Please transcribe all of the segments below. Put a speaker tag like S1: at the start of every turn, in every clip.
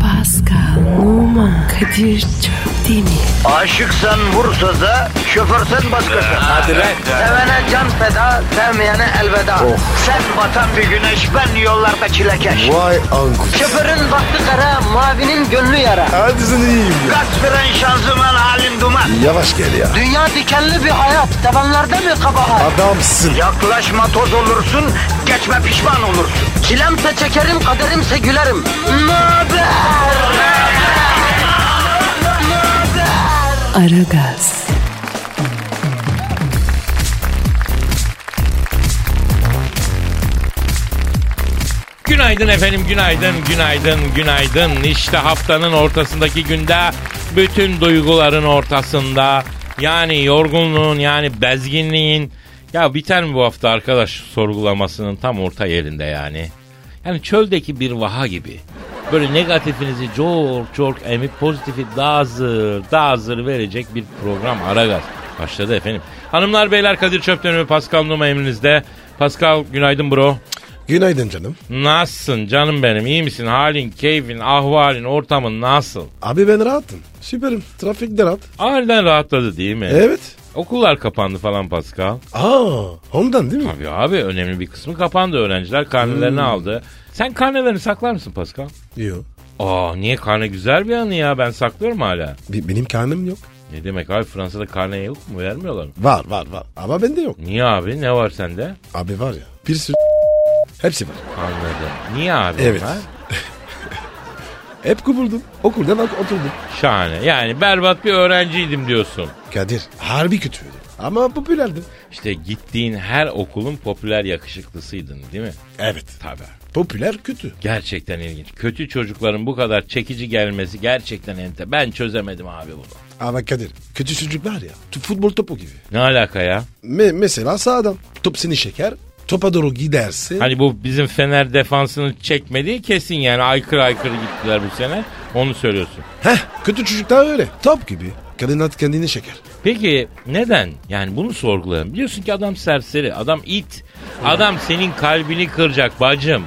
S1: Pascal, Oman, Kadir çok değil mi?
S2: Aşıksan vursa da, şoförsen başkasın.
S3: Hadi lan. Oh.
S2: Sevene can feda, sevmeyene elveda. Sen batan bir güneş, ben yollarda çilekeş.
S4: Vay anku.
S2: Şoförün baktı kara, mavinin gönlü yara.
S4: Hadi sen iyiyim ya.
S2: Kasperen şanzıman halin duman.
S4: Yavaş gel ya.
S2: Dünya dikenli bir hayat, sevenlerde mi kabahar?
S4: Adamsın.
S2: Yaklaşma toz olursun, geçme pişman olursun. Çilemse çekerim, kaderimse gülerim. Möber!
S1: Aragaz,
S3: Günaydın efendim, günaydın, günaydın, günaydın. İşte haftanın ortasındaki günde bütün duyguların ortasında. Yani yorgunluğun, yani bezginliğin. Ya biter mi bu hafta arkadaş sorgulamasının tam orta yerinde yani. Yani çöldeki bir vaha gibi. Böyle negatifinizi çok çok emip pozitifi dazır dazır verecek bir program Aragaz. Başladı efendim. Hanımlar beyler Kadir Çöpten ve Pascal Numa emrinizde. Pascal günaydın bro.
S4: Günaydın canım.
S3: Nasılsın canım benim iyi misin? Halin, keyfin, ahvalin, ortamın nasıl?
S4: Abi ben rahatım. Süperim. Trafik de rahat.
S3: Harbiden rahatladı değil mi?
S4: Evet.
S3: Okullar kapandı falan Pascal.
S4: Aa ondan değil mi?
S3: Tabii abi önemli bir kısmı kapandı öğrenciler karnelerini
S4: Hmm.
S3: aldı. Sen karnelerini saklar mısın Pascal?
S4: Yok.
S3: Aa niye karne güzel bir anı ya ben saklıyorum hala.
S4: Bi- benim karnım yok.
S3: Ne demek abi Fransa'da karne yok mu vermiyorlar mı?
S4: Var var var. Ama bende yok.
S3: Niye abi ne var sende?
S4: Abi var ya. Bir sürü Hepsi var.
S3: Anladım. Niye abi
S4: Evet.
S3: onlar?
S4: Hep kubuldum. Okuldan ok- oturdum.
S3: Şahane yani berbat bir öğrenciydim diyorsun.
S4: Kadir harbi kötüydü. Ama popülerdim.
S3: İşte gittiğin her okulun popüler yakışıklısıydın değil mi?
S4: Evet.
S3: Tabii.
S4: Popüler kötü.
S3: Gerçekten ilginç. Kötü çocukların bu kadar çekici gelmesi gerçekten ente. Ben çözemedim abi bunu.
S4: Ama Kadir kötü çocuk var ya. tu- Futbol topu gibi.
S3: Ne alaka ya?
S4: Me- mesela sağdan. Top seni şeker. Topa doğru gidersin.
S3: Hani bu bizim Fener defansını çekmediği kesin yani. Aykırı aykırı gittiler bu sene. Onu söylüyorsun.
S4: Heh kötü çocuklar öyle. Top gibi. Kadın at kendini şeker.
S3: Peki neden? Yani bunu sorgulayalım. Biliyorsun ki adam serseri, adam it. Adam senin kalbini kıracak bacım.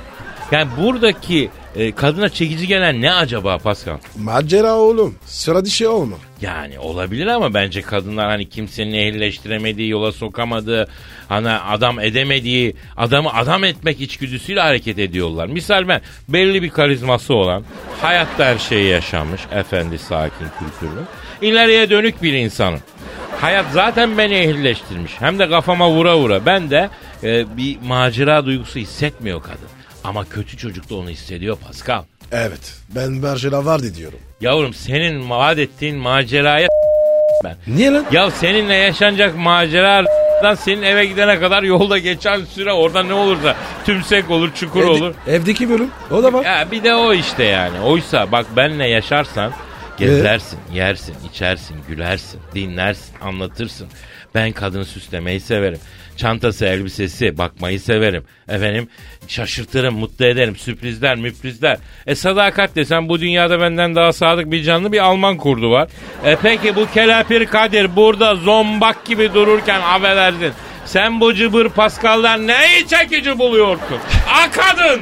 S3: Yani buradaki e, kadına çekici gelen ne acaba Pascal?
S4: Macera oğlum. Sıra dışı olma.
S3: Yani olabilir ama bence kadınlar hani kimsenin ehlileştiremediği, yola sokamadığı, hani adam edemediği, adamı adam etmek içgüdüsüyle hareket ediyorlar. Misal ben belli bir karizması olan, hayatta her şeyi yaşanmış, efendi sakin kültürlü, ileriye dönük bir insanım. Hayat zaten beni ehlileştirmiş. Hem de kafama vura vura. Ben de e, bir macera duygusu hissetmiyor kadın. Ama kötü çocuk da onu hissediyor Pascal.
S4: Evet. Ben macera vardı diyorum.
S3: Yavrum senin vaat ettiğin maceraya ben.
S4: Niye lan?
S3: Ya seninle yaşanacak maceradan senin eve gidene kadar yolda geçen süre orada ne olursa tümsek olur, çukur
S4: Evde-
S3: olur.
S4: Evdeki bölüm. O da var.
S3: Ya bir de o işte yani. Oysa bak benle yaşarsan gezersin, yersin, içersin, gülersin, dinlersin, anlatırsın. Ben kadını süslemeyi severim. Çantası, elbisesi, bakmayı severim. Efendim şaşırtırım, mutlu ederim. Sürprizler, müprizler. E sadakat desen bu dünyada benden daha sadık bir canlı bir Alman kurdu var. E peki bu kelapir Kadir burada zombak gibi dururken affedersin. Sen bu cıbır Paskal'dan neyi çekici buluyorsun? A kadın!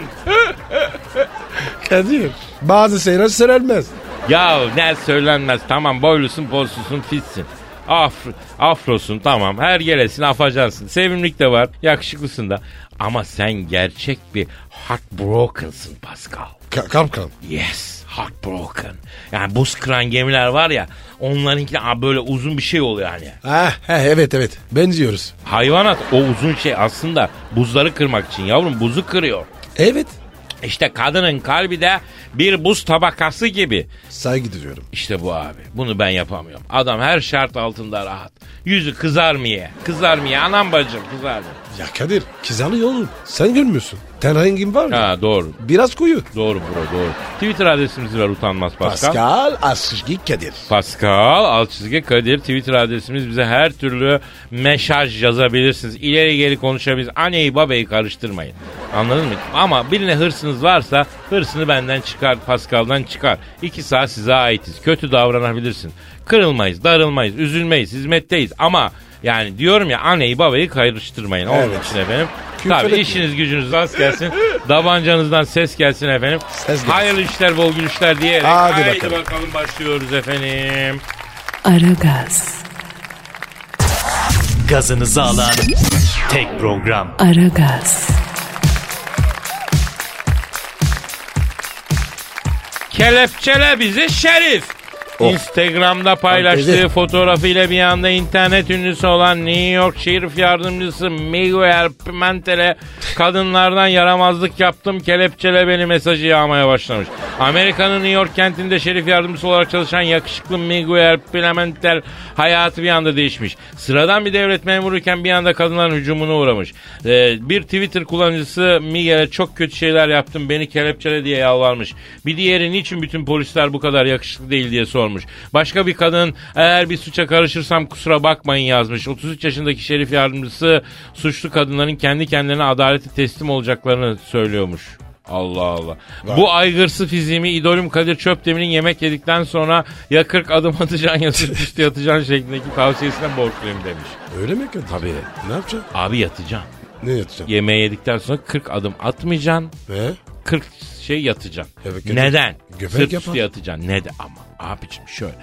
S4: Kadir. Bazı şeyler söylenmez.
S3: Ya ne söylenmez tamam boylusun poslusun fitsin. Afro, afrosun tamam her gelesin afacansın. Sevimlik de var yakışıklısın da. Ama sen gerçek bir heartbroken'sın Pascal.
S4: Ka- kapkan.
S3: Yes heartbroken. Yani buz kıran gemiler var ya onlarınki Aa, böyle uzun bir şey oluyor hani.
S4: Ha, ha, Ah, evet evet. Benziyoruz.
S3: Hayvanat o uzun şey aslında buzları kırmak için yavrum buzu kırıyor.
S4: Evet.
S3: İşte kadının kalbi de bir buz tabakası gibi.
S4: Saygı duyuyorum.
S3: İşte bu abi. Bunu ben yapamıyorum. Adam her şart altında rahat. Yüzü kızarmıyor. Kızarmıyor. Anam bacım kızarmıyor.
S4: Ya Kadir. Kizalıyor oğlum. Sen görmüyorsun. Ten rengin var mı?
S3: Ha doğru.
S4: Biraz koyu.
S3: Doğru bro doğru. Twitter adresimizi ver utanmaz Pascal. Pascal.
S4: Pascal Askışki Kadir.
S3: Pascal alt çizgi Kadir Twitter adresimiz bize her türlü mesaj yazabilirsiniz. İleri geri konuşabiliriz. Anneyi babayı karıştırmayın. Anladın mı? Ama birine hırsınız varsa hırsını benden çıkar Pascal'dan çıkar. İki saat size aitiz. Kötü davranabilirsin. Kırılmayız, darılmayız, üzülmeyiz, hizmetteyiz. Ama Yani diyorum ya anneyi babayı karıştırmayın. Onun
S4: Evet.
S3: için efendim
S4: Küfür
S3: Tabii
S4: etme.
S3: işiniz gücünüz rast gelsin. Davancanızdan ses gelsin efendim.
S4: Ses gelsin.
S3: Hayırlı işler bol gülüşler diyerek.
S4: Hadi
S3: Haydi
S4: bakalım.
S3: bakalım başlıyoruz efendim.
S1: Aragaz,
S5: Gazınızı alan tek program.
S1: Aragaz,
S3: Kelepçele bizi şerif.
S4: Oh.
S3: Instagram'da paylaştığı
S4: Fantezi.
S3: fotoğrafıyla bir anda internet ünlüsü olan New York şerif yardımcısı Miguel Pimentel'e kadınlardan yaramazlık yaptım kelepçele beni mesajı yağmaya başlamış. Amerika'nın New York kentinde şerif yardımcısı olarak çalışan yakışıklı Miguel Pimentel hayatı bir anda değişmiş. Sıradan bir devlet memuruyken bir anda kadınların hücumuna uğramış. Ee, bir Twitter kullanıcısı Miguel'e çok kötü şeyler yaptım beni kelepçele diye yalvarmış. Bir diğeri niçin bütün polisler bu kadar yakışıklı değil diye sormuş. Başka bir kadın eğer bir suça karışırsam kusura bakmayın yazmış. 33 yaşındaki şerif yardımcısı suçlu kadınların kendi kendilerine adalete teslim olacaklarını söylüyormuş. Allah Allah. Bu aygırsı fiziğimi idolüm Kadir Çöpdemir'in yemek yedikten sonra ya 40 adım atacaksın ya sırt üstü yatacaksın şeklindeki tavsiyesine borçluyum demiş.
S4: Öyle mi Kadir? Tabii. Ne yapacaksın?
S3: Abi yatacaksın.
S4: Ne yatacaksın?
S3: Yemeği yedikten sonra 40 adım atmayacaksın.
S4: Ve
S3: 40 şey yatacaksın.
S4: Evet, göbek-
S3: Neden?
S4: göbek
S3: Sırt
S4: yapar.
S3: üstü yatacaksın. Neden? Ama abicim şöyle.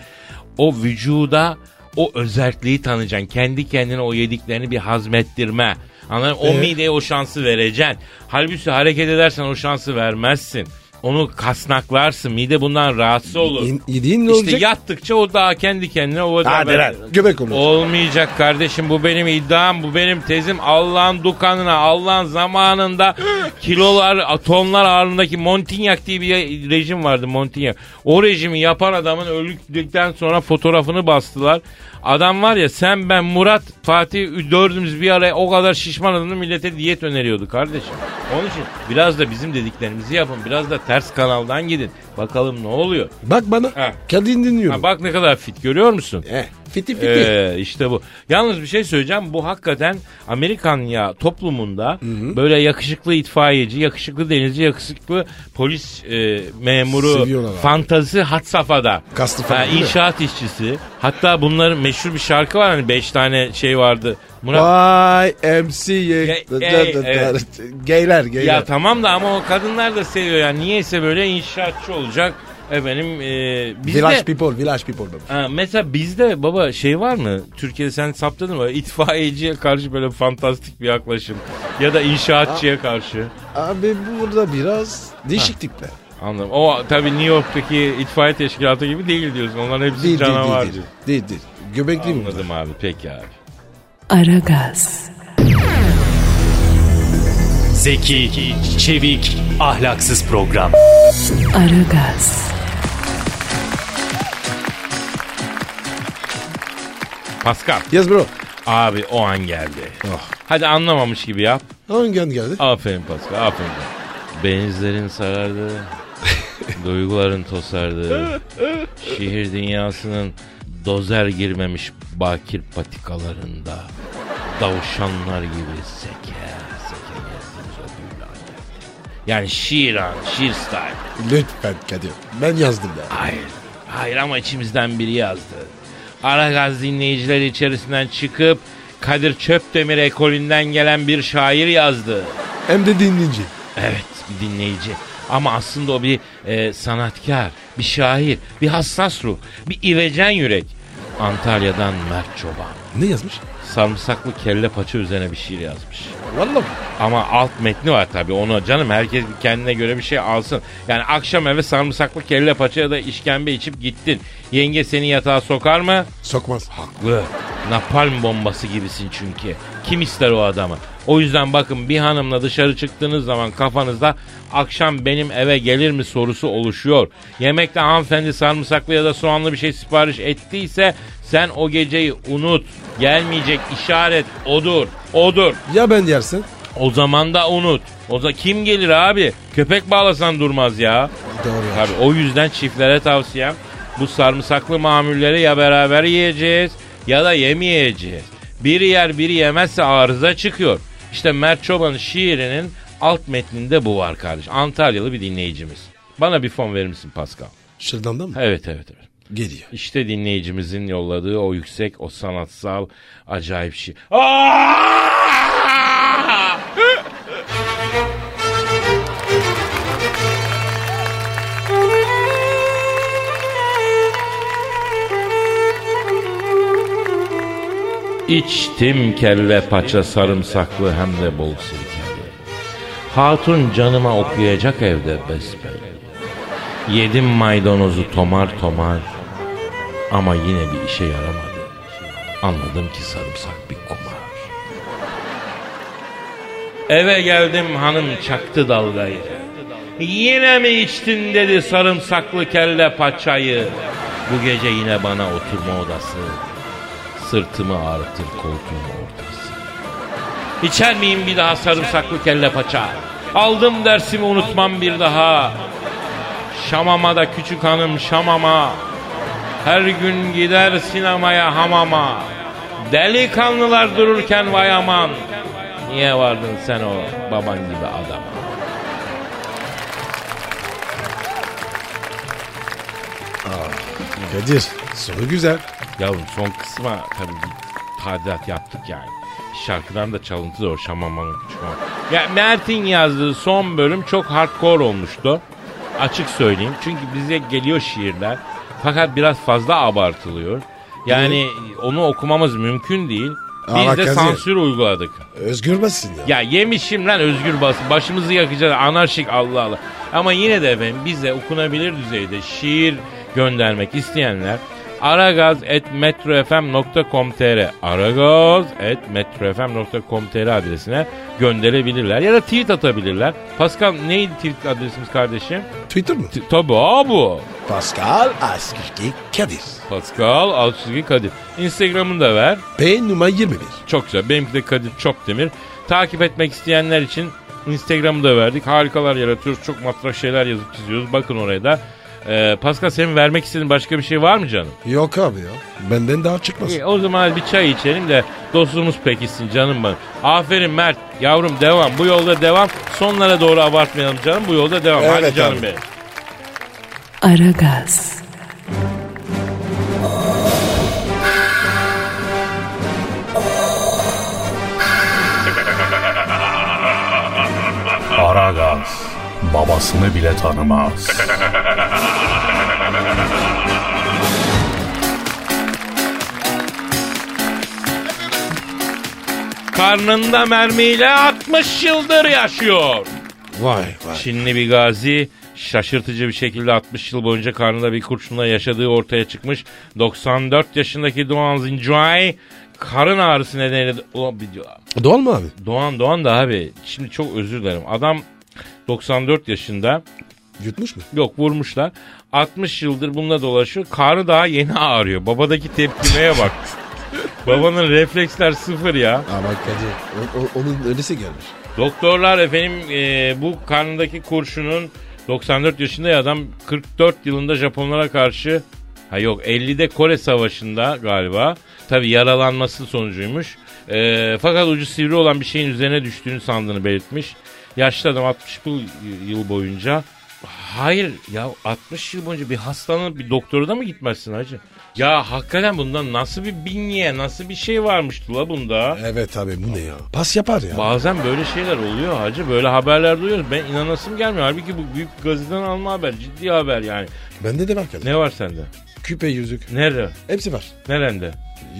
S3: O vücuda o özelliği tanacaksın. Kendi kendine o yediklerini bir hazmettirme. Anladın? mı? O
S4: Ee?
S3: mideye o şansı vereceksin. Halbuki hareket edersen o şansı vermezsin. Onu kasnaklarsın. Mide bundan rahatsız olur.
S4: in- yediğin ne
S3: işte
S4: olacak?
S3: yattıkça o daha kendi kendine o
S4: Hadi lan. Göbek olur.
S3: Olmayacak kardeşim bu benim iddiam bu benim tezim Allah'ın dukanına Allah'ın zamanında kilolar atomlar ağırlığındaki Montignac diye bir rejim vardı Montignac. O rejimi yapan adamın öldükten sonra fotoğrafını bastılar. Adam var ya sen ben Murat Fatih dördümüz bir araya o kadar şişman adamı millete diyet öneriyordu kardeşim. Onun için biraz da bizim dediklerimizi yapın biraz da ters kanaldan gidin bakalım ne oluyor.
S4: Bak bana.
S3: Ha.
S4: Kendini dinliyorum.
S3: Ha, bak ne kadar fit görüyor musun?
S4: Eh, fiti fiti.
S3: Ee, işte bu. Yalnız bir şey söyleyeceğim. Bu hakikaten Amerikan ya toplumunda böyle yakışıklı itfaiyeci, yakışıklı denizci, yakışıklı polis e, memuru
S4: Seviyorlar abi.
S3: fantazisi hat safhada.
S4: Kastı falan
S3: Ha,
S4: değil mi?
S3: inşaat işçisi. Hatta bunların meşhur bir şarkı var hani 5 tane şey vardı. Murat
S4: Vay MC'ye.
S3: Ge- gay, evet.
S4: Geyler geyler.
S3: ya tamam da ama o kadınlar da seviyor yani. Niyeyse böyle inşaatçı olacak. Efendim e, biz
S4: village
S3: de-
S4: people, village people. baba.
S3: Ha, mesela bizde baba şey var mı? Türkiye'de sen saptadın mı? İtfaiyeciye karşı böyle fantastik bir yaklaşım. Ya da inşaatçıya karşı.
S4: Abi bu burada biraz değişik tipler.
S3: Anladım. O tabii New York'taki itfaiye teşkilatı gibi değil diyorsun. Onların hepsi
S4: Değil değil
S3: canavar
S4: değil, değil.
S3: diyorsun.
S4: Değil değil. Göbekli mi?
S3: Anladım abi peki abi.
S1: Aragaz,
S5: Zeki, çevik, ahlaksız program.
S1: Aragaz,
S3: Pascal
S4: Yes bro.
S3: abi o an geldi.
S4: Oh.
S3: Hadi anlamamış gibi yap.
S4: Hangi an geldi?
S3: Aferin Pascal aferin. Benizlerin sarardı. duyguların tosardı. Şehir dünyasının dozer girmemiş bakir patikalarında. Davuşanlar gibi seker seker gezdiniz öbürlü alemde. Yani şiir an, şiir style.
S4: Lütfen Kadir. Ben yazdım ya.
S3: Hayır. Hayır ama içimizden biri yazdı. Aragaz dinleyiciler içerisinden çıkıp Kadir Çöpdemir ekolünden gelen bir şair yazdı.
S4: Hem de dinleyici.
S3: Evet bir dinleyici. Ama aslında o bir e, sanatkar, bir şair, bir hassas ruh, bir ivecen yürek. Antalya'dan Mert Çoban.
S4: Ne yazmış?
S3: Sarımsaklı kelle paça üzerine bir şiir yazmış.
S4: Vallahi.
S3: Ama alt metni var tabii ona canım herkes bir kendine göre bir şey alsın. Yani akşam eve sarımsaklı kelle paça ya da işkembe içip gittin. Yenge seni yatağa sokar mı?
S4: Sokmaz.
S3: Haklı. Napalm bombası gibisin çünkü. Kim ister o adamı? O yüzden bakın bir hanımla dışarı çıktığınız zaman kafanızda akşam benim eve gelir mi sorusu oluşuyor. Yemekte hanımefendi sarımsaklı ya da soğanlı bir şey sipariş ettiyse sen o geceyi unut. Gelmeyecek işaret odur. Odur.
S4: Ya ben yersin?
S3: O zaman da unut. O zaman kim gelir abi? Köpek bağlasan durmaz ya.
S4: Doğru ya.
S3: Tabii o yüzden çiftlere tavsiyem bu sarımsaklı mamulleri ya beraber yiyeceğiz ya da yemeyeceğiz. Biri yer biri yemezse arıza çıkıyor. İşte Mert Çoban'ın şiirinin alt metninde bu var kardeş. Antalyalı bir dinleyicimiz. Bana bir fon verir misin Pascal?
S4: Şırdan da mı?
S3: Evet evet evet.
S4: Geliyor.
S3: İşte dinleyicimizin yolladığı o yüksek, o sanatsal, acayip şey. Aa! İçtim kelle paça sarımsaklı hem de bol sirkeli. Hatun canıma okuyacak evde besbelli. Yedim maydanozu tomar tomar ama yine bir işe yaramadı. Anladım ki sarımsak bir kumar. Eve geldim hanım çaktı dalgayı. Yine mi içtin dedi sarımsaklı kelle paçayı. Bu gece yine bana oturma odası. Sırtımı ağrıtır koltuğun ortası. İçer miyim bir daha sarımsaklı kelle paça? Aldım dersimi unutmam bir daha. Şamama da küçük hanım şamama. Her gün gider sinemaya hamama. Delikanlılar dururken vay aman. Niye vardın sen o baban gibi adama?
S4: Kadir soru güzel.
S3: Yavrum son kısma tabii bir tadilat yaptık yani. Şarkıdan da çalıntı da o şamaman. şuman. Ya Mert'in yazdığı son bölüm çok hardcore olmuştu. Açık söyleyeyim. Çünkü bize geliyor şiirler. Fakat biraz fazla abartılıyor. Yani onu okumamız mümkün değil. Biz
S4: Ama
S3: de
S4: Kazi-
S3: sansür uyguladık.
S4: Özgür basın ya.
S3: Ya yemişim lan özgür basın. Başımızı yakacağız. Anarşik Allah Allah. Ama yine de efendim bize okunabilir düzeyde şiir göndermek isteyenler aragaz.metrofm.com.tr aragaz.metrofm.com.tr adresine gönderebilirler. Ya da tweet atabilirler. Pascal neydi tweet adresimiz kardeşim?
S4: Twitter mı?
S3: T- Tabii abi.
S4: Pascal Askizgi Kadir.
S3: Pascal Alçızgi Kadir. Instagram'ını da ver.
S4: P numara 21.
S3: Çok güzel. Benimki de Kadir Çopdemir. Takip etmek isteyenler için Instagram'ı da verdik. Harikalar yaratıyoruz. Çok matrak şeyler yazıp çiziyoruz. Bakın oraya da. Ee, Pascal senin vermek istediğin başka bir şey var mı canım?
S4: Yok abi ya. Benden daha çıkmaz.
S3: İyi, o zaman bir çay içelim de dostluğumuz pekişsin canım benim. Aferin Mert. Yavrum devam. Bu yolda devam. Sonlara doğru abartmayalım canım. Bu yolda devam.
S4: Evet
S3: Hadi canım
S4: abi.
S3: benim.
S1: Aragaz.
S6: Aragaz babasını bile tanımaz.
S3: Karnında mermiyle 60 yıldır yaşıyor.
S4: Vay vay.
S3: Çinli bir gazi şaşırtıcı bir şekilde 60 yıl boyunca karnında bir kurşunla yaşadığı ortaya çıkmış. 94 yaşındaki Doğan Zincai karın ağrısı nedeniyle... Ulan bir-
S4: Doğal mı abi?
S3: Doğan Doğan da abi şimdi çok özür dilerim. Adam 94 yaşında
S4: Yutmuş mu?
S3: yok vurmuşlar. 60 yıldır bununla dolaşıyor. Karnı daha yeni ağrıyor. Babadaki tepkimeye bak. Babanın refleksler sıfır ya.
S4: Ama Kadir o- o- onun ölesi gelmiş.
S3: Doktorlar efendim e, bu karnındaki kurşunun 94 yaşında ya adam 44 yılında Japonlara karşı ha yok 50'de Kore Savaşı'nda galiba tabi yaralanması sonucuymuş. E, fakat ucu sivri olan bir şeyin üzerine düştüğünü sandığını belirtmiş. Yaşlı adam 60 bu yıl boyunca Hayır ya 60 yıl boyunca bir hastanın bir doktora da mı gitmezsin hacı? Ya hakikaten bunda nasıl bir binye nasıl bir şey varmıştı la bunda?
S4: Evet abi bu ne ya? Pas yapar ya.
S3: Bazen böyle şeyler oluyor hacı. Böyle haberler duyuyoruz. Ben inanasım gelmiyor. Halbuki bu büyük gazeteden alma haber. Ciddi haber yani.
S4: Bende de var Kadir.
S3: Ne var sende?
S4: Küpe yüzük.
S3: Nerede?
S4: Hepsi var.
S3: Nerende?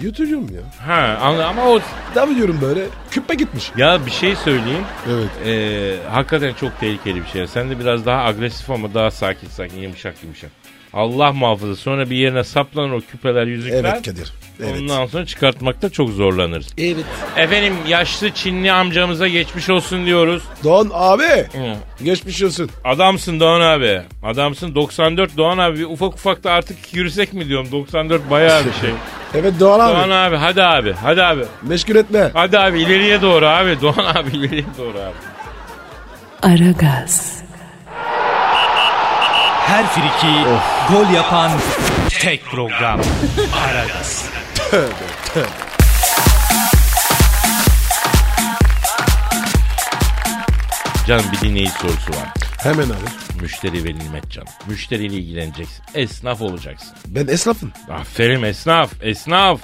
S4: Yutuyorum ya.
S3: Ha anla ama o...
S4: Devam ediyorum böyle. Küpe gitmiş.
S3: Ya bir şey söyleyeyim.
S4: Evet.
S3: Ee, hakikaten çok tehlikeli bir şey. Sen de biraz daha agresif ama daha sakin sakin yumuşak yumuşak. Allah muhafaza sonra bir yerine saplanır o küpeler yüzükler.
S4: Evet Kadir. Evet.
S3: Ondan sonra çıkartmakta çok zorlanırız.
S4: Evet.
S3: Efendim yaşlı Çinli amcamıza geçmiş olsun diyoruz.
S4: Doğan abi.
S3: Hı.
S4: Geçmiş olsun.
S3: Adamsın Doğan abi. Adamsın 94 Doğan abi. Ufak ufak da artık yürüsek mi diyorum. 94 bayağı bir şey.
S4: Evet Doğan abi.
S3: Doğan abi hadi abi. Hadi abi.
S4: Meşgul etme.
S3: Hadi abi ileriye doğru abi. Doğan abi ileriye doğru abi.
S1: Aragaz.
S5: Her friki gol yapan tek program. Aragaz.
S3: Canım bir dinleyici sorusu var.
S4: Hemen abi.
S3: Müşteri ve nimet canım. Müşteriyle ilgileneceksin. Esnaf olacaksın.
S4: Ben esnafım.
S3: Aferin esnaf, esnaf.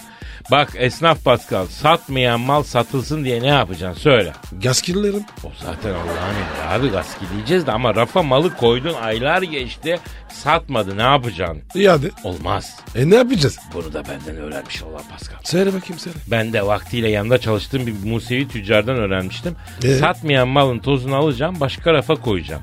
S3: Bak esnaf Pascal, satmayan mal satılsın diye ne yapacaksın söyle.
S4: Gaz kirlerim.
S3: O zaten Allah'ın emri abi gaskileyeceğiz de ama rafa malı koydun aylar geçti satmadı ne yapacaksın?
S4: İyi hadi.
S3: Olmaz.
S4: E ne yapacağız?
S3: Bunu da benden öğrenmiş Allah Pascal.
S4: Söyle bakayım söyle.
S3: Ben de vaktiyle yanında çalıştığım bir Musevi tüccardan öğrenmiştim.
S4: Ee?
S3: Satmayan malın tozunu alacağım başka rafa koyacağım.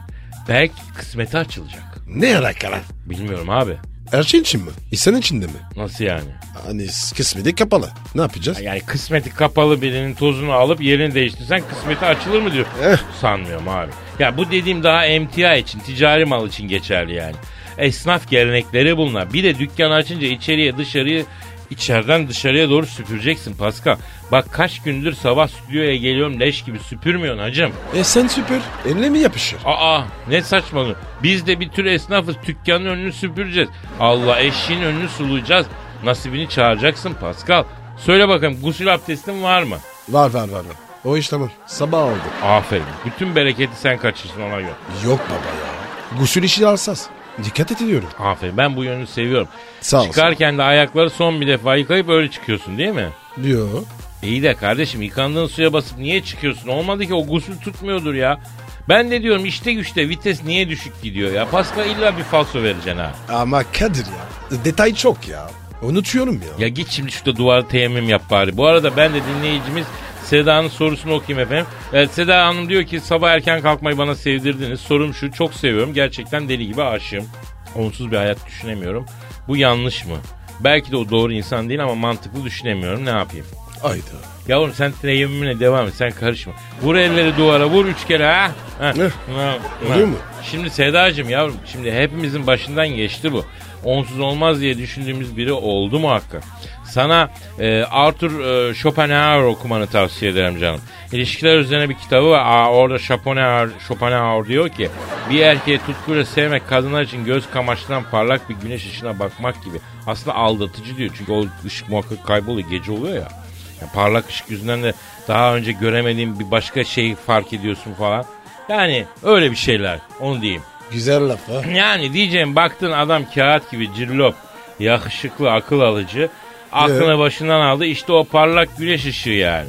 S3: Belki kısmeti açılacak.
S4: Ne alakalı?
S3: Bilmiyorum abi.
S4: Her şey için mi? İnsan için de mi?
S3: Nasıl yani?
S4: Hani kısmı de kapalı. Ne yapacağız?
S3: Yani kısmeti kapalı birinin tozunu alıp yerini değiştirsen kısmeti açılır mı diyor.
S4: Eh.
S3: Sanmıyorum abi. Ya bu dediğim daha emtia için, ticari mal için geçerli yani. Esnaf gelenekleri bunlar. Bir de dükkanı açınca içeriye dışarıyı içeriden dışarıya doğru süpüreceksin Pascal. Bak kaç gündür sabah stüdyoya geliyorum leş gibi süpürmüyorsun hacım.
S4: E sen süpür. Eline mi yapışır?
S3: Aa ne saçmalık. Biz de bir tür esnafız. Dükkanın önünü süpüreceğiz. Allah eşiğin önünü sulayacağız. Nasibini çağıracaksın Pascal. Söyle bakalım gusül abdestin var mı?
S4: Var var var var. O iş tamam. Sabah oldu.
S3: Aferin. Bütün bereketi sen kaçırsın ona göre.
S4: Yok baba ya. Gusül işi alsaz. Dikkat et ediyorum.
S3: Aferin. Ben bu yönünü seviyorum.
S4: Sağ olsun.
S3: Çıkarken de ayakları son bir defa yıkayıp öyle çıkıyorsun değil mi?
S4: Diyor.
S3: İyi de kardeşim yıkandığın suya basıp niye çıkıyorsun? Olmadı ki o gusül tutmuyordur ya. Ben de diyorum işte güçte vites niye düşük gidiyor ya. Pascal illa bir falso vereceksin ha.
S4: Ama Kadir ya. Detay çok ya. Unutuyorum ya.
S3: Ya git şimdi şurada duvarı teyemmüm yap bari. Bu arada ben de dinleyicimiz Seda'nın sorusunu okuyayım efendim. Ee, Seda Hanım diyor ki sabah erken kalkmayı bana sevdirdiniz. Sorum şu çok seviyorum. Gerçekten deli gibi aşığım. Onsuz bir hayat düşünemiyorum. Bu yanlış mı? Belki de o doğru insan değil ama mantıklı düşünemiyorum. Ne yapayım?
S4: Hayda.
S3: Yavrum sen teyemmümüne devam et. Sen karışma. Vur elleri duvara. Vur üç kere ha. ha.
S4: Eh,
S3: ha, ha.
S4: oluyor mu?
S3: Şimdi Sedacığım yavrum. Şimdi hepimizin başından geçti bu. Onsuz olmaz diye düşündüğümüz biri oldu muhakkak. Sana e, Arthur e, Schopenhauer okumanı tavsiye ederim canım. İlişkiler üzerine bir kitabı var. Aa, orada Schopenhauer, Schopenhauer diyor ki bir erkeği tutkuyla sevmek kadınlar için göz kamaştıran parlak bir güneş ışığına bakmak gibi. Aslında aldatıcı diyor. Çünkü o ışık muhakkak kayboluyor. Gece oluyor ya. Ya parlak ışık yüzünden de daha önce göremediğin bir başka şeyi fark ediyorsun falan. Yani öyle bir şeyler onu diyeyim.
S4: Güzel laf ha.
S3: Yani diyeceğim baktın adam kağıt gibi cirlop, yakışıklı, akıl alıcı. Aklını başından aldı işte o parlak güneş ışığı yani.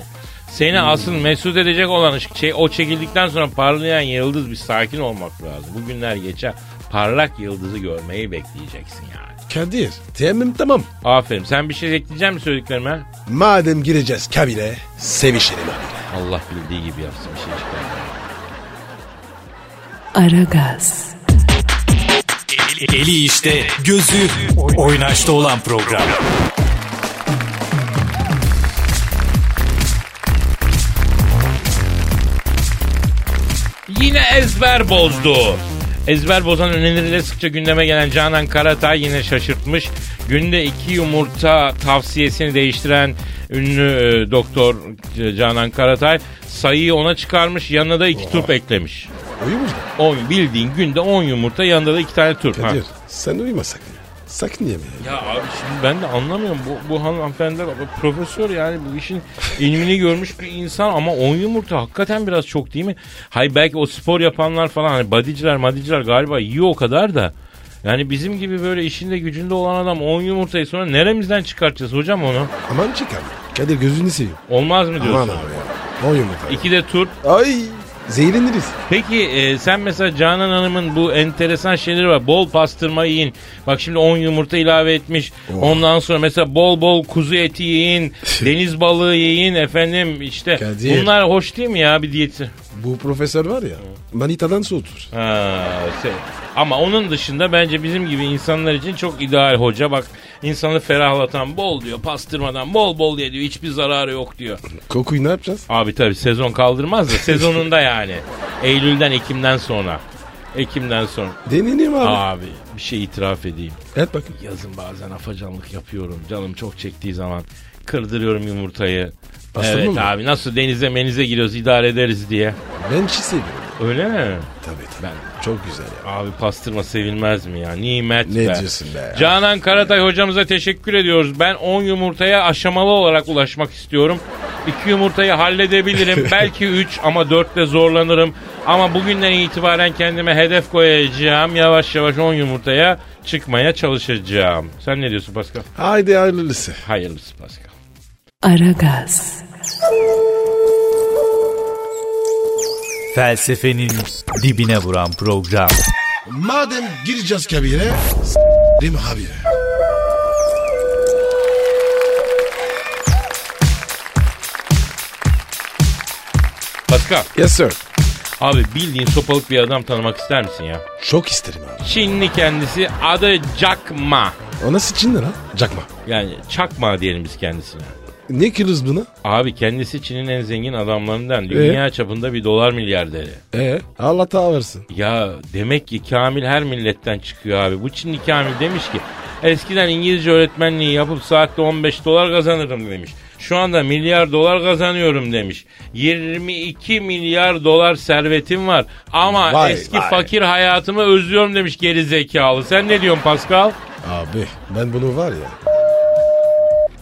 S3: Seni asıl mesut edecek olan ışık şey o çekildikten sonra parlayan yıldız bir sakin olmak lazım. Bugünler geçer parlak yıldızı görmeyi bekleyeceksin yani.
S4: Kadir. Teyemmüm tamam.
S3: Aferin sen bir şey ekleyecek misin söylediklerime?
S4: Madem gireceğiz kabire, sevişelim abi.
S3: Allah bildiği gibi yapsın bir şey çıkar.
S1: Aragaz,
S5: Eli, eli işte, gözü oynaşta olan program.
S3: Yine ezber bozdu. Ezber bozan önerileri sıkça gündeme gelen Canan Karatay yine şaşırtmış. Günde iki yumurta tavsiyesini değiştiren ünlü e, doktor C- Canan Karatay sayıyı ona çıkarmış yanına da iki turp eklemiş.
S4: Uyumuz mu?
S3: On, bildiğin günde 10 yumurta yanında da iki tane turp. ha.
S4: Kadir sen uyuma sakın. Sakın yeme. ya.
S3: Ya abi şimdi ben de anlamıyorum. Bu, bu hanımefendi profesör yani bu işin ilmini görmüş bir insan ama 10 yumurta hakikaten biraz çok değil mi? Hay belki o spor yapanlar falan hani badiciler madiciler galiba yiyor o kadar da. Yani bizim gibi böyle işinde gücünde olan adam 10 yumurtayı sonra neremizden çıkartacağız hocam onu?
S4: Aman çıkar. Kadir gözünü seveyim.
S3: Olmaz mı
S4: Aman
S3: diyorsun?
S4: abi ya. O yumurta.
S3: İki de tur.
S4: Ay zehirleniriz.
S3: Peki e, sen mesela Canan Hanım'ın bu enteresan şeyleri var. Bol pastırma yiyin. Bak şimdi 10 yumurta ilave etmiş. Ondan sonra mesela bol bol kuzu eti yiyin. deniz balığı yiyin efendim işte.
S4: Kadir.
S3: Bunlar hoş değil mi ya bir diyeti?
S4: Bu profesör var ya manitadan soğutur.
S3: Ha, şey. Ama onun dışında bence bizim gibi insanlar için çok ideal hoca. Bak insanı ferahlatan bol diyor pastırmadan bol bol ye diyor. Hiçbir zararı yok diyor.
S4: Kokuyu ne yapacağız?
S3: Abi tabi sezon kaldırmaz da sezonunda yani. Eylül'den Ekim'den sonra. Ekim'den sonra.
S4: Deneyim abi.
S3: Abi bir şey itiraf edeyim.
S4: Et bakın.
S3: Yazın bazen afacanlık yapıyorum. Canım çok çektiği zaman kırdırıyorum yumurtayı.
S4: Bastırma
S3: evet
S4: mı?
S3: abi nasıl denize menize giriyoruz idare ederiz diye.
S4: Ben çiğ seviyorum.
S3: Öyle mi?
S4: Tabii tabii. Çok güzel ya.
S3: Abi pastırma sevilmez mi ya? Nimet
S4: Ne
S3: be.
S4: diyorsun be?
S3: Canan Karatay hocamıza teşekkür ediyoruz. Ben 10 yumurtaya aşamalı olarak ulaşmak istiyorum. İki yumurtayı halledebilirim. Belki üç ama dörtte zorlanırım. Ama bugünden itibaren kendime hedef koyacağım. Yavaş yavaş on yumurtaya çıkmaya çalışacağım. Sen ne diyorsun Pascal?
S4: Haydi hayırlısı.
S3: Hayırlısı Pascal.
S1: Aragaz,
S5: Felsefenin dibine vuran program.
S4: Madem gireceğiz kabire s**rim abi.
S3: Pascal
S4: Yes sir.
S3: abi bildiğin sopalık bir adam tanımak ister misin ya?
S4: Çok isterim abi.
S3: Çinli kendisi adı Cakma.
S4: O nasıl Çinli lan? Cakma.
S3: Yani Çakma diyelim biz kendisine.
S4: Ne kırız buna?
S3: Abi kendisi Çin'in en zengin adamlarından dünya çapında bir dolar milyarderi.
S4: Ee? Allah ta versin.
S3: Ya demek ki Kamil her milletten çıkıyor abi. Bu Çinli Kamil demiş ki eskiden İngilizce öğretmenliği yapıp saatte 15 dolar kazanırım demiş. Şu anda milyar dolar kazanıyorum demiş. 22 milyar dolar servetim var. Ama
S4: Vay,
S3: eski
S4: vay.
S3: fakir hayatımı özlüyorum demiş geri zekalı. Sen ne diyorsun Pascal?
S4: Abi ben bunu var ya.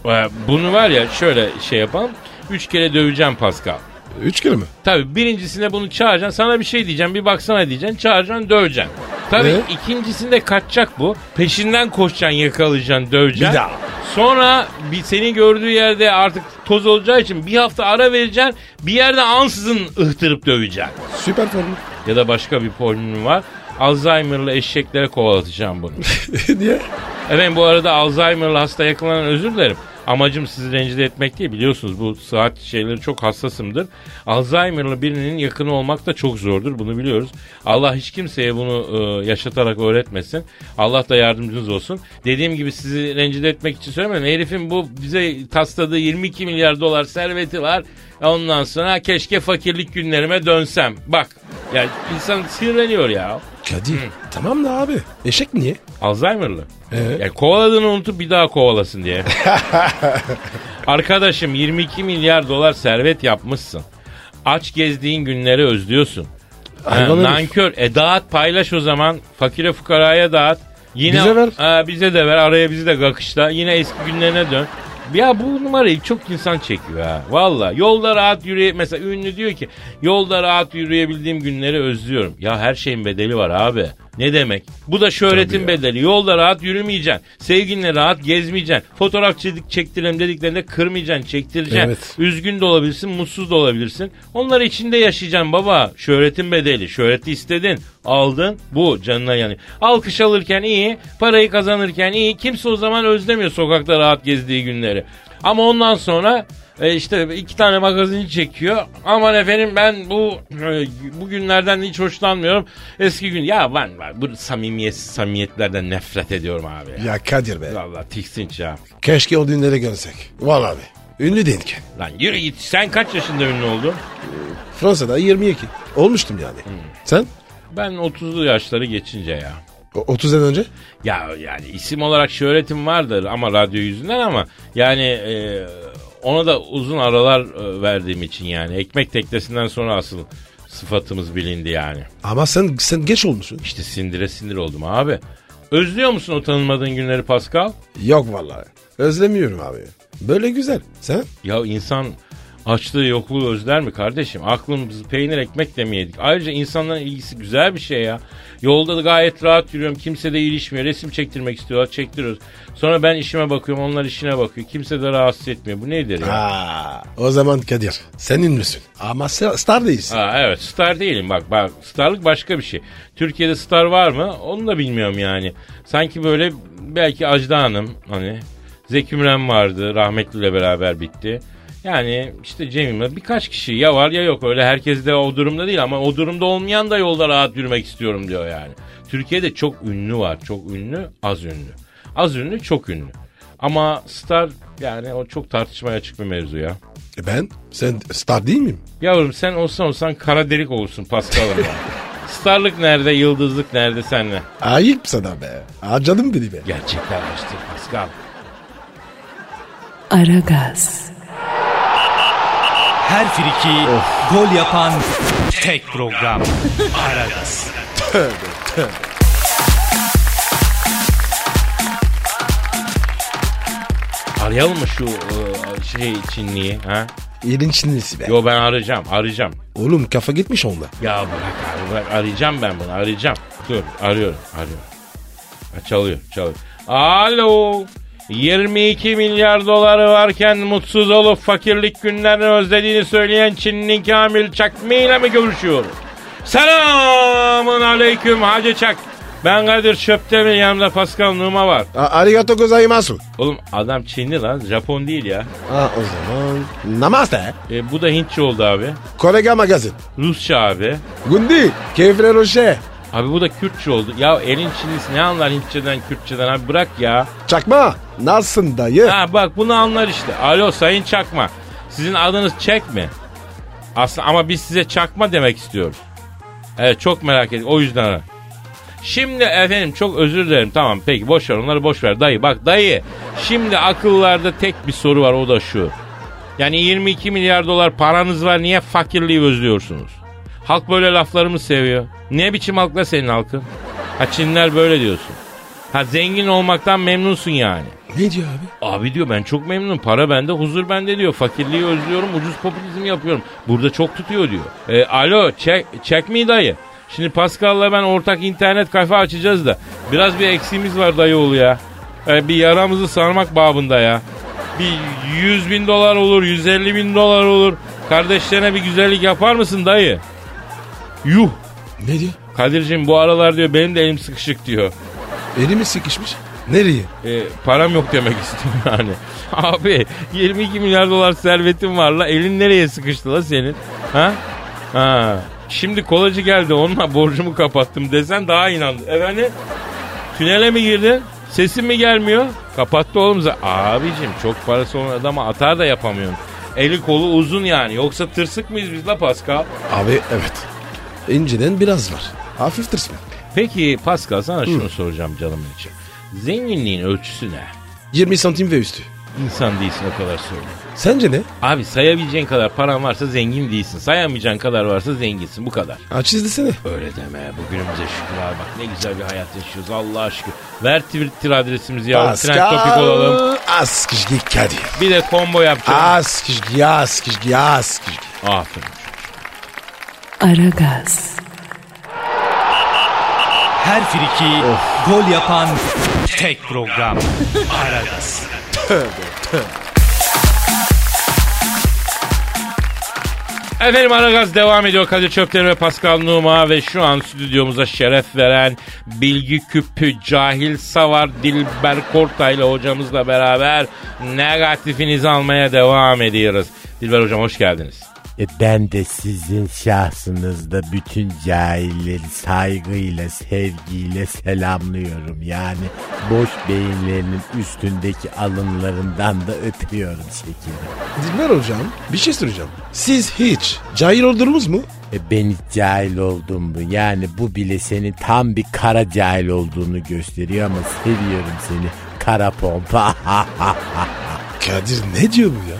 S3: Ee, Bunu var ya şöyle şey yapalım. Üç kere döveceğim Pascal.
S4: Üç kere mi?
S3: Tabii birincisine bunu çağıracaksın. Sana bir şey diyeceğim. Bir baksana diyeceksin. Çağıracaksın döveceksin. Tabii
S4: Ee?
S3: ikincisinde kaçacak bu. Peşinden koşacaksın yakalayacaksın döveceksin.
S4: Bir daha.
S3: Sonra bir seni gördüğü yerde artık toz olacağı için bir hafta ara vereceksin. Bir yerde ansızın ıhtırıp döveceksin.
S4: Süper formu.
S3: Ya da başka bir formülüm var. Alzheimer'lı eşeklere kovalatacağım bunu.
S4: Niye?
S3: Efendim bu arada Alzheimer'lı hasta yakınlarından özür dilerim. Amacım sizi rencide etmek değil biliyorsunuz bu saat şeyleri çok hassasımdır. Alzheimer'lı birinin yakını olmak da çok zordur bunu biliyoruz. Allah hiç kimseye bunu e, yaşatarak öğretmesin. Allah da yardımcınız olsun. Dediğim gibi sizi rencide etmek için söylemiyorum. Herifin bu bize tasladığı 22 milyar dolar serveti var. Ondan sonra keşke fakirlik günlerime dönsem. Bak ya insan sinirleniyor ya.
S4: Kadir. Tamam da abi. Eşek niye?
S3: Alzheimer'lı.
S4: Evet.
S3: Ya kovaladığını unutup bir daha kovalasın diye. Arkadaşım 22 milyar dolar servet yapmışsın. Aç gezdiğin günleri özlüyorsun. Ha,
S4: Hayvan herif.
S3: nankör. E dağıt paylaş o zaman. Fakire fukaraya dağıt. Yine,
S4: Bize ver.
S3: Ha, bize de ver. Araya bizi de kakışla. Yine eski günlerine dön. Ya bu numarayı çok insan çekiyor ha. Valla yolda rahat yürüye... Mesela ünlü diyor ki yolda rahat yürüyebildiğim günleri özlüyorum. Ya her şeyin bedeli var abi. Ne demek? Bu da şöhretin bedeli. Yolda rahat yürümeyeceksin. Sevginle rahat gezmeyeceksin. Fotoğraf çek- çektirelim dediklerinde kırmayacaksın, çektireceksin.
S4: Evet.
S3: Üzgün de olabilirsin, mutsuz da olabilirsin. Onları içinde yaşayacaksın baba. Şöhretin bedeli. Şöhreti istedin, aldın. Bu canına yanıyor. Alkış alırken iyi, parayı kazanırken iyi. Kimse o zaman özlemiyor sokakta rahat gezdiği günleri. Ama ondan sonra e, işte iki tane magazin çekiyor. Aman efendim ben bu e, bu günlerden hiç hoşlanmıyorum. Eski gün ya ben, ben bu samimiyet samimiyetlerden nefret ediyorum abi. Ya.
S4: Ya Kadir be.
S3: Vallahi tiksinç ya.
S4: Keşke o düğünlere görsek. Vallahi abi. Ünlü değil ki.
S3: Lan yürü git. Sen kaç yaşında ünlü oldun?
S4: Fransa'da 22. Olmuştum yani. Sen?
S3: Ben 30'lu yaşları geçince ya.
S4: O- 30'dan önce?
S3: Ya yani isim olarak şöhretim vardır ama radyo yüzünden ama yani e, ona da uzun aralar e, verdiğim için yani ekmek teknesinden sonra asıl sıfatımız bilindi yani.
S4: Ama sen sen geç olmuşsun.
S3: İşte sindire sindir oldum abi. Özlüyor musun o tanınmadığın günleri Pascal?
S4: Yok vallahi. Özlemiyorum abi. Böyle güzel. Sen?
S3: Ya insan açlığı yokluğu özler mi kardeşim? Aklımızı peynir ekmek demeyedik. Ayrıca insanların ilgisi güzel bir şey ya. Yolda da gayet rahat yürüyorum. Kimse de ilişmiyor. Resim çektirmek istiyorlar. Çektiriyoruz. Sonra ben işime bakıyorum. Onlar işine bakıyor. Kimse de rahatsız etmiyor. Bu nedir ya?
S4: Aa, o zaman Kadir sen ünlüsün. Ama se- star değilsin.
S3: Ha, evet star değilim bak bak starlık başka bir şey. Türkiye'de star var mı onu da bilmiyorum yani. Sanki böyle belki Ajda Hanım hani Zeki Müren vardı rahmetliyle beraber bitti. Yani işte Cem Yılmaz birkaç kişi ya var ya yok öyle herkes de o durumda değil ama o durumda olmayan da yolda rahat yürümek istiyorum diyor yani. Türkiye'de çok ünlü var çok ünlü az ünlü. Az ünlü çok ünlü. Ama star yani o çok tartışmaya açık bir mevzu ya.
S4: E ben? Sen star değil miyim?
S3: Yavrum sen olsan olsan kara delik olursun Pascal'ım ya. Starlık nerede, yıldızlık nerede senle?
S4: Ayıp sana be. Harcadın beni be.
S3: Gerçekler açtı Pascal.
S1: Aragaz,
S5: Her friki gol yapan tek program. Aragaz.
S3: Arayalım mı şu e, şey Çinliyi ha?
S4: Elin Çinlisi be.
S3: Yo ben arayacağım arayacağım.
S4: Oğlum kafa gitmiş onda.
S3: Ya bırak abi bırak arayacağım ben bunu arayacağım. Dur arıyorum arıyorum. Ha, çalıyor çalıyor. Alo 22 milyar doları varken mutsuz olup fakirlik günlerini özlediğini söyleyen Çinli Kamil Çakmi ile mi görüşüyorum? Selamın aleyküm Hacı Çak. Ben Kadir Çöptemir yanımda Pascal Numa var.
S4: Arigato gozaimasu.
S3: Oğlum adam Çinli lan Japon değil ya.
S4: Ha o zaman. Namaste.
S3: E, bu da Hintçi oldu abi.
S4: Kolega magazin.
S3: Rusça abi.
S4: Gundi. Keyifler roşe.
S3: Abi bu da Kürtçe oldu. Ya elin Çinlisi ne anlar Hintçeden Kürtçeden abi bırak ya.
S4: Çakma. Nasılsın dayı?
S3: Ha bak bunu anlar işte. Alo Sayın Çakma. Sizin adınız Çek mi? Aslında ama biz size Çakma demek istiyoruz. Evet çok merak ettik o yüzden. ara. Şimdi efendim çok özür dilerim tamam peki boş ver onları boş ver dayı bak dayı şimdi akıllarda tek bir soru var o da şu. Yani 22 milyar dolar paranız var niye fakirliği özlüyorsunuz? Halk böyle laflarımı seviyor. Ne biçim halkla senin halkın? Ha Çinler böyle diyorsun. Ha zengin olmaktan memnunsun yani.
S4: Ne diyor abi?
S3: Abi diyor ben çok memnunum. Para bende, huzur bende diyor. Fakirliği özlüyorum, ucuz popülizm yapıyorum. Burada çok tutuyor diyor. E, alo, çek, çek mi dayı? Şimdi Pascal'la ben ortak internet kafe açacağız da. Biraz bir eksiğimiz var dayı oğlu ya. E, bir yaramızı sarmak babında ya. Bir 100 bin dolar olur, 150 bin dolar olur. Kardeşlerine bir güzellik yapar mısın dayı? Yuh.
S4: Ne diyor?
S3: Kadir'cim bu aralar diyor benim de elim sıkışık diyor.
S4: Eli mi sıkışmış? Nereye?
S3: E, param yok demek istiyorum yani. Abi 22 milyar dolar servetin var la elin nereye sıkıştı la senin? Ha? Ha. Şimdi kolacı geldi onunla borcumu kapattım desen daha inandı. Efendim? Tünele mi girdin? Sesin mi gelmiyor? Kapattı oğlum. za- Abicim çok parası olan adama atar da yapamıyorum. Eli kolu uzun yani. Yoksa tırsık mıyız biz la Pascal?
S4: Abi evet. İnceden biraz var. Hafif tırsma.
S3: Peki Pascal sana şunu soracağım canım için. Zenginliğin ölçüsü ne?
S4: 20 santim ve üstü.
S3: İnsan değilsin o kadar söyle.
S4: Sence ne?
S3: Abi sayabileceğin kadar paran varsa zengin değilsin. Sayamayacağın kadar varsa zenginsin. Bu kadar.
S4: Aç izlesene.
S3: Öyle deme. Bugünümüze şükür abi. Bak ne güzel bir hayat yaşıyoruz. Allah'a şükür. Ver Twitter adresimizi ya. Trend topik olalım.
S4: Askışgi Kadir.
S3: Bir de combo yapacağım.
S4: Askışgi, askışgi, askışgi.
S3: Aferin.
S1: Aragaz,
S5: Her friki gol yapan tek program. Aragaz.
S3: Efendim Aragaz devam ediyor. Kadir Çöpleri ve Pascal Numa ve şu an stüdyomuza şeref veren Bilgi Küpü Cahil Savar Dilber Kortay ile hocamızla beraber negatifinizi almaya devam ediyoruz. Dilber hocam hoş geldiniz.
S7: E ben de sizin şahsınızda bütün cahilleri saygıyla, sevgiyle selamlıyorum. Yani boş beyinlerinin üstündeki alınlarından da öpüyorum şekerim.
S4: Dilber hocam bir şey soracağım. Siz hiç cahil oldunuz mu?
S7: E ben hiç cahil oldum mu? Yani bu bile senin tam bir kara cahil olduğunu gösteriyor ama seviyorum seni. Kara pompa.
S4: Kadir ne diyor bu ya?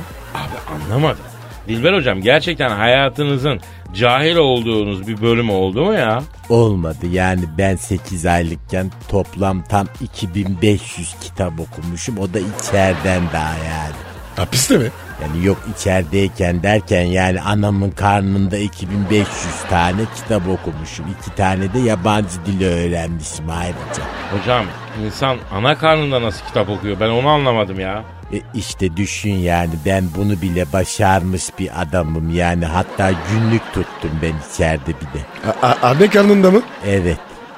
S3: Anlamadım. Dilber hocam gerçekten hayatınızın cahil olduğunuz bir bölümü oldu mu ya?
S7: Olmadı yani ben 8 aylıkken toplam tam 2500 kitap okumuşum. O da içeriden daha yani.
S4: Hapiste mi?
S7: Yani yok içerideyken derken yani anamın karnında 2500 tane kitap okumuşum. iki tane de yabancı dili öğrenmişim ayrıca.
S3: Hocam insan ana karnında nasıl kitap okuyor ben onu anlamadım ya.
S7: E işte düşün yani ben bunu bile başarmış bir adamım yani hatta günlük tuttum ben içeride bir de.
S4: A- a- anne karnında mı?
S7: Evet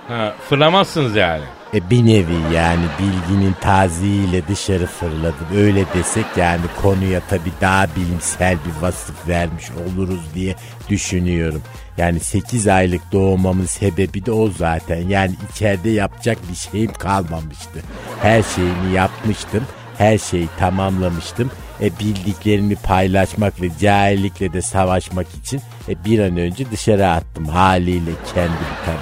S3: Ha, fırlamazsınız yani.
S7: e bir nevi yani bilginin taziyle dışarı fırladım öyle desek yani konuya tabi daha bilimsel bir vasıf vermiş oluruz diye düşünüyorum. Yani 8 aylık doğmamın sebebi de o zaten yani içeride yapacak bir şeyim kalmamıştı. Her şeyimi yapmıştım her şeyi tamamlamıştım. E bildiklerimi paylaşmak ve cahillikle de savaşmak için e, bir an önce dışarı attım haliyle kendimi tabii.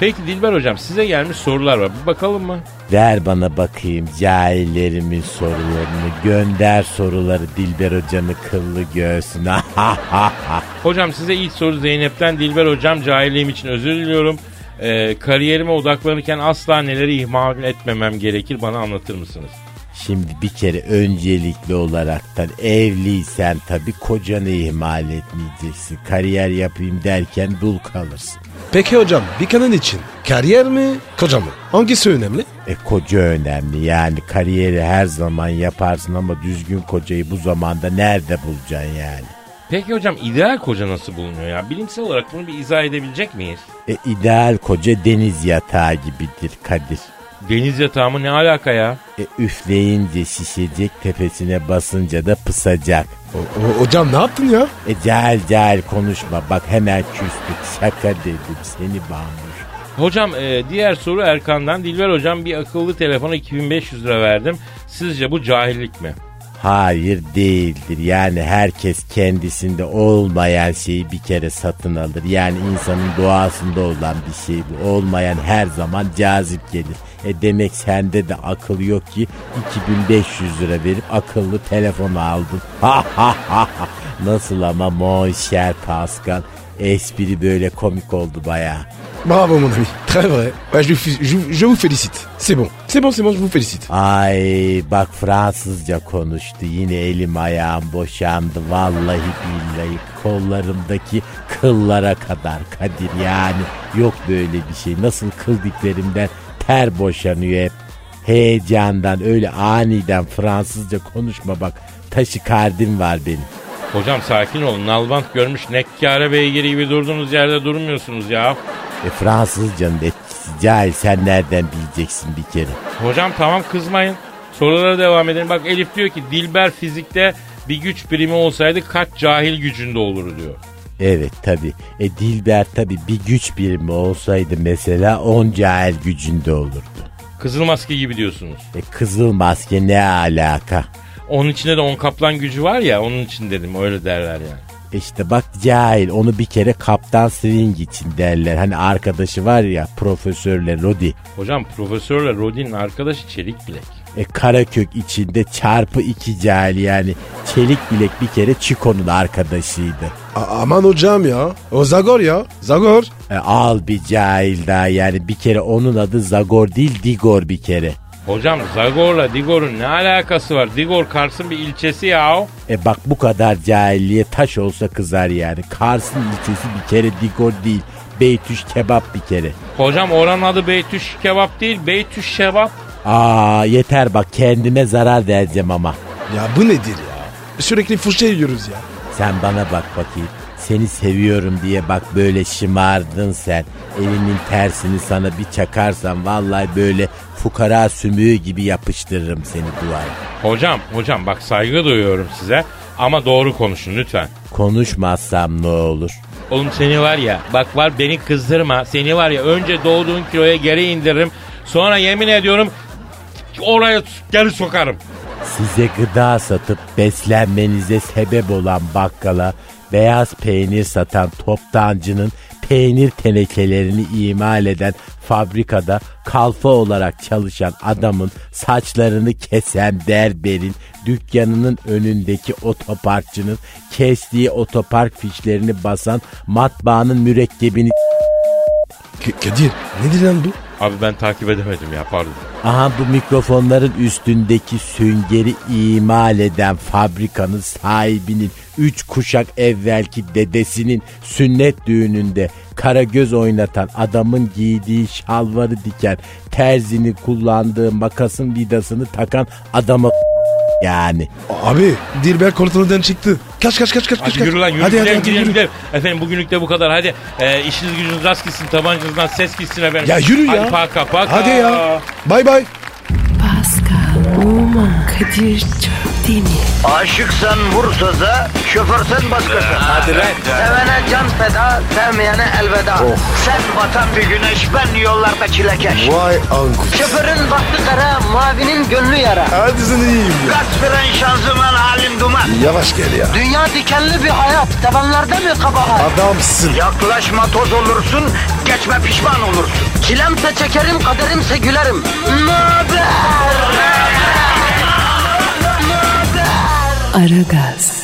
S3: Peki Dilber hocam size gelmiş sorular var bir bakalım mı?
S7: Ver bana bakayım cahillerimin sorularını. Gönder soruları Dilber hocanı kıllı göğsüne.
S3: Hocam size ilk soru Zeynep'ten Dilber hocam cahilliğim için özür diliyorum. Ee, kariyerime odaklanırken asla neleri ihmal etmemem gerekir bana anlatır mısınız?
S7: Şimdi bir kere öncelikli olaraktan evliysen tabii kocanı ihmal etmeyeceksin. Kariyer yapayım derken dul kalırsın.
S4: Peki hocam bir kadın için kariyer mi koca mı? Hangisi önemli?
S7: E koca önemli yani kariyeri her zaman yaparsın ama düzgün kocayı bu zamanda nerede bulacaksın yani?
S3: Peki hocam ideal koca nasıl bulunuyor ya? Bilimsel olarak bunu bir izah edebilecek miyiz?
S7: E ideal koca deniz yatağı gibidir Kadir.
S3: Deniz yatağı mı ne alaka ya?
S7: E üfleyince şişecek tepesine basınca da pısacak.
S4: O- o- hocam ne yaptın ya?
S7: E cahil cahil konuşma bak hemen küstük şaka dedim seni bağımlı.
S3: Hocam e, diğer soru Erkan'dan. Dilber hocam bir akıllı telefona 2500 lira verdim. Sizce bu cahillik mi?
S7: Hayır değildir. Yani herkes kendisinde olmayan şeyi bir kere satın alır. Yani insanın doğasında olan bir şey bu. Olmayan her zaman cazip gelir. E demek sende de akıl yok ki 2500 lira verip akıllı telefon aldın. Ha ha ha ha. Nasıl ama Monşer Pascal. Espri böyle komik oldu bayağı.
S4: Bravo mon ami. Très vrai. Ouais, je, vous fé- je vous- je vous félicite. C'est bon. C'est bon, c'est bon, je vous félicite.
S7: Ay bak Fransızca konuştu yine elim ayağım boşandı vallahi billahi kollarımdaki kıllara kadar Kadir yani yok böyle bir şey nasıl kıl diklerimden ter boşanıyor hep heyecandan öyle aniden Fransızca konuşma bak taşı kardim var benim.
S3: Hocam sakin olun. Nalbant görmüş nekkare beygiri gibi durduğunuz yerde durmuyorsunuz ya.
S7: E Fransızcanın etkisi cahil sen nereden bileceksin bir kere.
S3: Hocam tamam kızmayın. Sorulara devam edelim. Bak Elif diyor ki Dilber fizikte bir güç birimi olsaydı kaç cahil gücünde olur diyor.
S7: Evet tabi. E Dilber tabi bir güç birimi olsaydı mesela on cahil gücünde olurdu.
S3: Kızıl maske gibi diyorsunuz.
S7: E kızıl maske ne alaka?
S3: Onun içinde de on kaplan gücü var ya onun için dedim öyle derler yani.
S7: E İşte bak cahil onu bir kere kaptan swing için derler. Hani arkadaşı var ya profesörle Rodi.
S3: Hocam profesörle Rodin'in arkadaşı Çelik Bilek.
S7: E Karakök içinde çarpı iki cahil yani. Çelik bilek bir kere Çiko'nun arkadaşıydı.
S4: A- aman hocam ya. O Zagor ya. Zagor.
S7: E, al bir cahil daha yani bir kere onun adı Zagor değil Digor bir kere.
S3: Hocam Zagor'la Digor'un ne alakası var? Digor Kars'ın bir ilçesi ya.
S7: E bak bu kadar cahilliğe taş olsa kızar yani. Kars'ın ilçesi bir kere Digor değil. Beytüş kebap bir kere.
S3: Hocam oranın adı Beytüş Kebap değil, Beytüş Şebap.
S7: Aa yeter bak kendime zarar vereceğim ama.
S4: Ya bu nedir ya? Sürekli fırça yiyoruz ya.
S7: Sen bana bak bakayım. Seni seviyorum diye bak böyle şımardın sen. Elimin tersini sana bir çakarsam vallahi böyle fukara sümüğü gibi yapıştırırım seni duvara.
S3: Hocam, hocam bak saygı duyuyorum size ama doğru konuşun lütfen.
S7: Konuşmazsam ne olur?
S3: Oğlum seni var ya, bak var beni kızdırma. Seni var ya önce doğduğun kiloya geri indiririm. Sonra yemin ediyorum oraya geri sokarım.
S7: Size gıda satıp beslenmenize sebep olan bakkala beyaz peynir satan toptancının peynir tenekelerini imal eden fabrikada kalfa olarak çalışan adamın saçlarını kesen berberin dükkanının önündeki otoparkçının kestiği otopark fişlerini basan matbaanın mürekkebini
S4: K- Kadir nedir lan bu?
S3: Abi ben takip edemedim ya pardon.
S7: Aha bu mikrofonların üstündeki süngeri imal eden fabrikanın sahibinin üç kuşak evvelki dedesinin sünnet düğününde karagöz oynatan adamın giydiği şalvarı diken terzini kullandığı makasın vidasını takan adama yani.
S4: A- Abi Dilber kontrolden çıktı. Kaç kaç kaç kaç kaç.
S3: Hadi
S4: kaç.
S3: yürü lan yürü
S4: Hadi hadi,
S3: gidelim,
S4: hadi,
S3: gidelim,
S4: yürü.
S3: gidelim. Efendim bugünlük de bu kadar hadi. E, işiniz gücünüz rast gitsin tabancanızdan ses gitsin efendim.
S4: Ya yürü ya.
S3: Hadi paka paka.
S4: Hadi ya. Bay bay.
S1: Pascal, Oman, Kadir çok değil mi?
S2: Aşıksan vursa da, şoförsen başkasın. Hadi Sevene can feda, sevmeyene elveda. Sen batan bir güneş, ben yollarda çilekeş.
S4: Vay anku.
S2: Şoförün baktı kara, mavinin gönlü yara.
S4: Hadi sen iyiyim ya.
S2: Kasperen şanzıman halin duman.
S4: Yavaş gel ya.
S2: Dünya dikenli bir hayat, sevenlerde mi kabahar?
S4: Adamsın.
S2: Yaklaşma toz olursun, geçme pişman olursun. Çilemse çekerim, kaderimse gülerim. Möber!
S1: Aragaz.